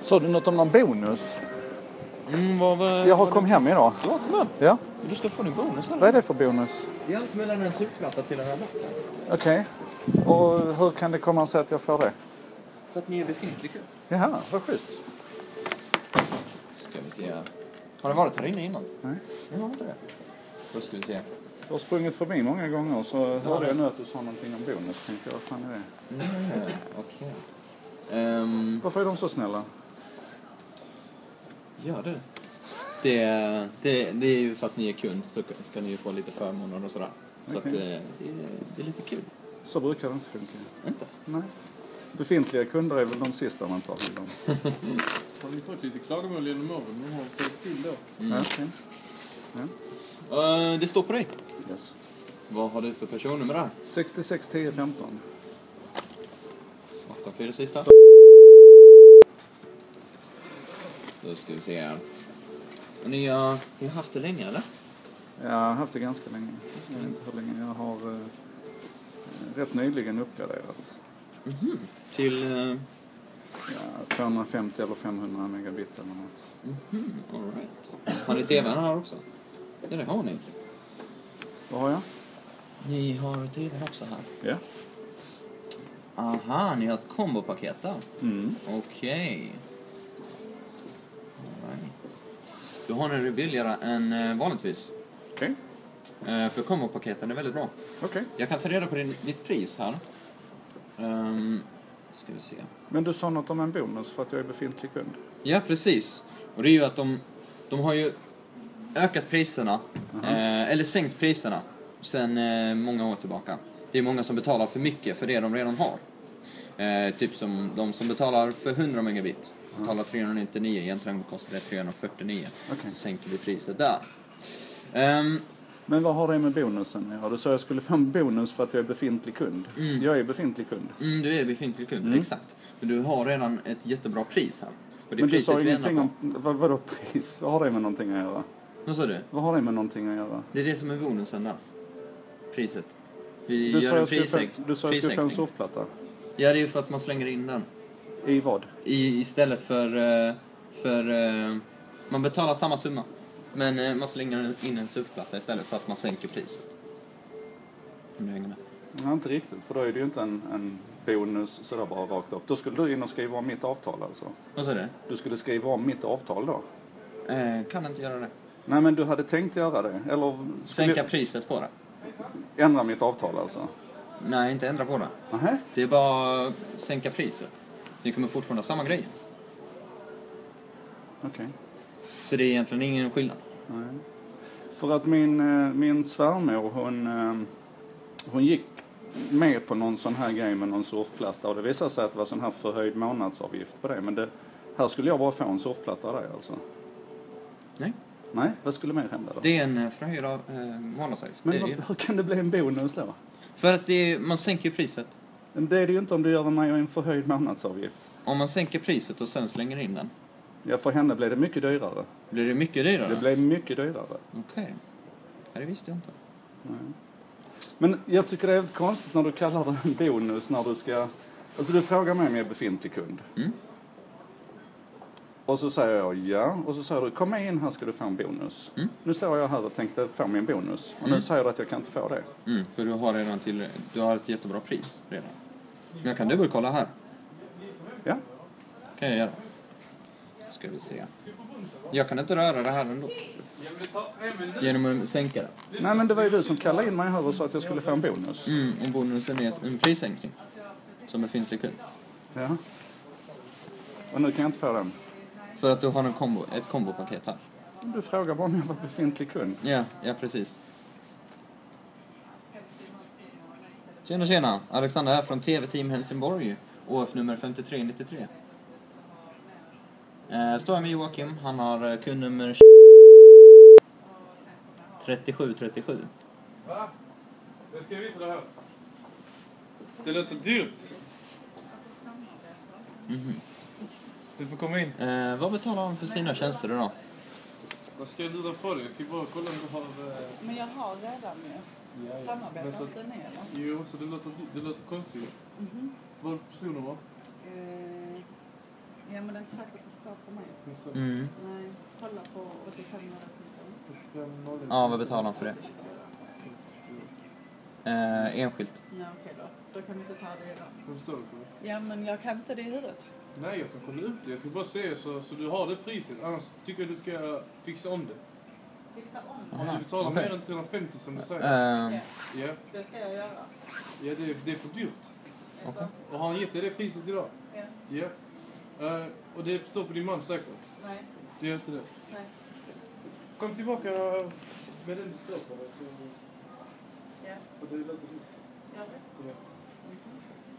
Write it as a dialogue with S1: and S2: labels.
S1: Sa du något om någon bonus?
S2: Mm, vad, vad,
S1: Jag har kom hem idag.
S2: Ja, kom igen.
S1: Ja.
S2: Du ska få din bonus
S1: Vad är
S2: här.
S1: det för bonus?
S2: Det är allt mellan en surfplatta till en rabatt.
S1: Okej. Och hur kan det komma sig att jag får det?
S2: För att ni är befintlig kö.
S1: Jaha, vad schysst.
S2: Ska vi se. Har ni varit här inne innan?
S1: Nej.
S2: Ni har inte det? Då ska vi se.
S1: Du har sprungit förbi många gånger så hörde jag nu att du sa någonting om bonus. Tänkte jag, vad fan är det?
S2: Mm, Okej. Ehm,
S1: Varför är de så snälla?
S2: ja du. Det, det, det är ju för att ni är kund så ska ni ju få lite förmåner och sådär. Så
S1: Okej.
S2: att, eh, det, det är lite kul.
S1: Så brukar det inte funka.
S2: Inte?
S1: Nej. Befintliga kunder är väl de sista man tar till dem.
S3: Har ni fått lite klagomål genom åren? De har fått till då.
S1: Mm. Okej.
S2: Eh, det står på dig.
S1: Yes.
S2: Vad har du för personnummer där?
S1: 66 10 15.
S2: 8, 4 sista. Då ska vi se här. Och Ni har, ni har haft det länge eller?
S1: Jag har haft det ganska länge. Jag vet inte hur länge. Jag har eh, rätt nyligen uppgraderat.
S2: Till... Uh,
S1: Ja, 250 eller 500 megabit eller något.
S2: all right. Har ni TVn här också? Ja, det har ni.
S1: Vad har jag?
S2: Ni har TVn också här.
S1: Ja.
S2: Aha, ni har ett kombopaket där.
S1: Mm.
S2: Okej. All right. Då har ni det billigare än eh, vanligtvis.
S1: Okej.
S2: Eh, för kombopaketen är väldigt bra.
S1: Okej.
S2: Jag kan ta reda på din, ditt pris här. Um, ska vi se.
S1: Men du sa något om en bonus för att jag är befintlig kund.
S2: Ja, precis. Och det är ju att de, de har ju ökat priserna, eh, eller sänkt priserna, sen eh, många år tillbaka. Det är många som betalar för mycket för det de redan har. Eh, typ som de som betalar för 100 megabit, betalar 399, egentligen kostar det 349.
S1: Okej.
S2: Så sänker vi priset där. Ehm,
S1: Men vad har det med bonusen att göra? Du sa jag skulle få en bonus för att jag är befintlig kund. Jag är befintlig kund.
S2: mm, du är befintlig kund, exakt. Men du har redan ett jättebra pris här. Och det
S1: Men du sa
S2: vi ändrar
S1: ingenting
S2: på-
S1: om... Vad, vadå pris? Vad har det med någonting att göra?
S2: Vad sa du?
S1: Vad har det med någonting att göra?
S2: Det är det som är bonusen där. Priset. Vi
S1: Du
S2: gör
S1: sa
S2: en
S1: jag skulle få,
S2: prissäk-
S1: du sa jag skulle få en
S2: prissänkning.
S1: surfplatta.
S2: Ja, det är ju för att man slänger in den.
S1: I vad?
S2: I, istället för... eh, för eh, man betalar samma summa. Men eh, man slänger in en surfplatta istället för att man sänker priset. Om du hänger med.
S1: Nej, inte riktigt. För då är det ju inte en, en bonus sådär bara rakt upp. Då skulle du in och skriva om mitt avtal alltså.
S2: Vad sa du?
S1: Du skulle skriva om mitt avtal då?
S2: Eh, kan inte göra det.
S1: Nej, men du hade tänkt göra det? Eller skulle
S2: Sänka priset på det.
S1: jag ändra mitt avtal alltså?
S2: Nej, inte ändra på det.
S1: Nähä?
S2: Det är bara att sänka priset. Ni kommer fortfarande ha samma grejer.
S1: Okej.
S2: Så det är egentligen ingen skillnad.
S1: Nej. För att min, eh, min svärmor hon, eh, hon gick med på någon sån här grej med någon surfplatta och det visade sig att det var sån här förhöjd månadsavgift på det. Men det, här skulle jag bara få en surfplatta där alltså.
S2: Nej,
S1: Nej, vad skulle mer hända då?
S2: det är en eh, förhöjd av eh, månadsavgift. Det
S1: Men
S2: är
S1: vad,
S2: det ju.
S1: hur kan det bli en bonus då?
S2: För att det är, man sänker ju priset.
S1: Men Det är det ju inte om du gör mig en förhöjd månadsavgift.
S2: Om man sänker priset och sen slänger in den,
S1: Ja, för henne blev det mycket dyrare.
S2: blir det mycket dyrare?
S1: Det blev mycket dyrare.
S2: Okej. Ja, det visste jag inte.
S1: Men jag tycker det är väldigt konstigt när du kallar det en bonus när du ska... Alltså du frågar mig om jag är befintlig kund.
S2: Mm.
S1: Och så säger jag ja. Och så säger du kom med in här ska du få en bonus.
S2: Mm.
S1: Nu står jag här och tänkte få min bonus. Och nu säger du att jag kan inte få det.
S2: Mm, för du har redan till, du har ett jättebra pris redan. Men jag kan dubbelkolla här.
S1: Ja,
S2: kan jag göra. Ska vi se. Jag kan inte röra det här ändå. Genom att sänka det.
S1: nej men det var ju du som kallade in mig här och sa att jag skulle få en bonus.
S2: Mm, och bonusen är en prissänkning. Som befintlig kund.
S1: Ja. Och nu kan jag inte få den.
S2: För att du har en kombo, ett kombopaket här.
S1: Du frågar bara om jag var befintlig kund.
S2: Ja, ja precis. Tjena, tjena. Alexander här från TV-team Helsingborg. OF nummer 5393. Eh, står jag med Joakim. Han har eh, kundnummer 3737.
S3: Jag ska visa det här. Det låter dyrt. Du får komma in.
S2: Mhm. Eh, vad betalar han för sina tjänster idag?
S3: Vad ska jag lura på dig? Jag ska bara kolla om du har... Eh...
S4: Men jag har redan eh, ju.
S3: ja, ja. Men
S4: Samarbetar
S3: så-
S4: inte ni eller?
S3: Jo, så det låter, dy- det låter konstigt. Vad har du för personnummer?
S4: Eh, Ja, men det är inte säkert att det står på mig.
S5: Alltså,
S2: Mm.
S4: Nej, kolla på 85 några punkter.
S5: 75, 0,
S2: Ja, vad betalar han för det? Eh, enskilt.
S4: Ja, okej då. Då kan vi inte ta det idag.
S5: Vad förstår du?
S4: Ja, men jag kan inte det i huvudet.
S5: Nej, jag kan kolla ut det. Jag ska bara se så, så du har det priset. Annars tycker jag du ska fixa om det.
S4: Fixa om.
S5: Om
S2: Aha,
S5: du betalar
S2: okej.
S5: mer än 350 som du säger.
S2: Eh,
S4: Ja,
S5: Ja,
S4: det ska jag göra.
S5: ja det, är- det är för dyrt.
S4: Det är så.
S2: Okej.
S5: Och har han gett dig det priset idag?
S4: Ja.
S5: Ja. Eh, och det står på din man säkert.
S4: Nej,
S5: Det gör inte det.
S4: nej.
S5: Kom tillbaka med den du står på. Så,
S4: Ja,
S5: för det låter dyrt.
S4: gör det.
S5: Kom igen.
S4: Mhm.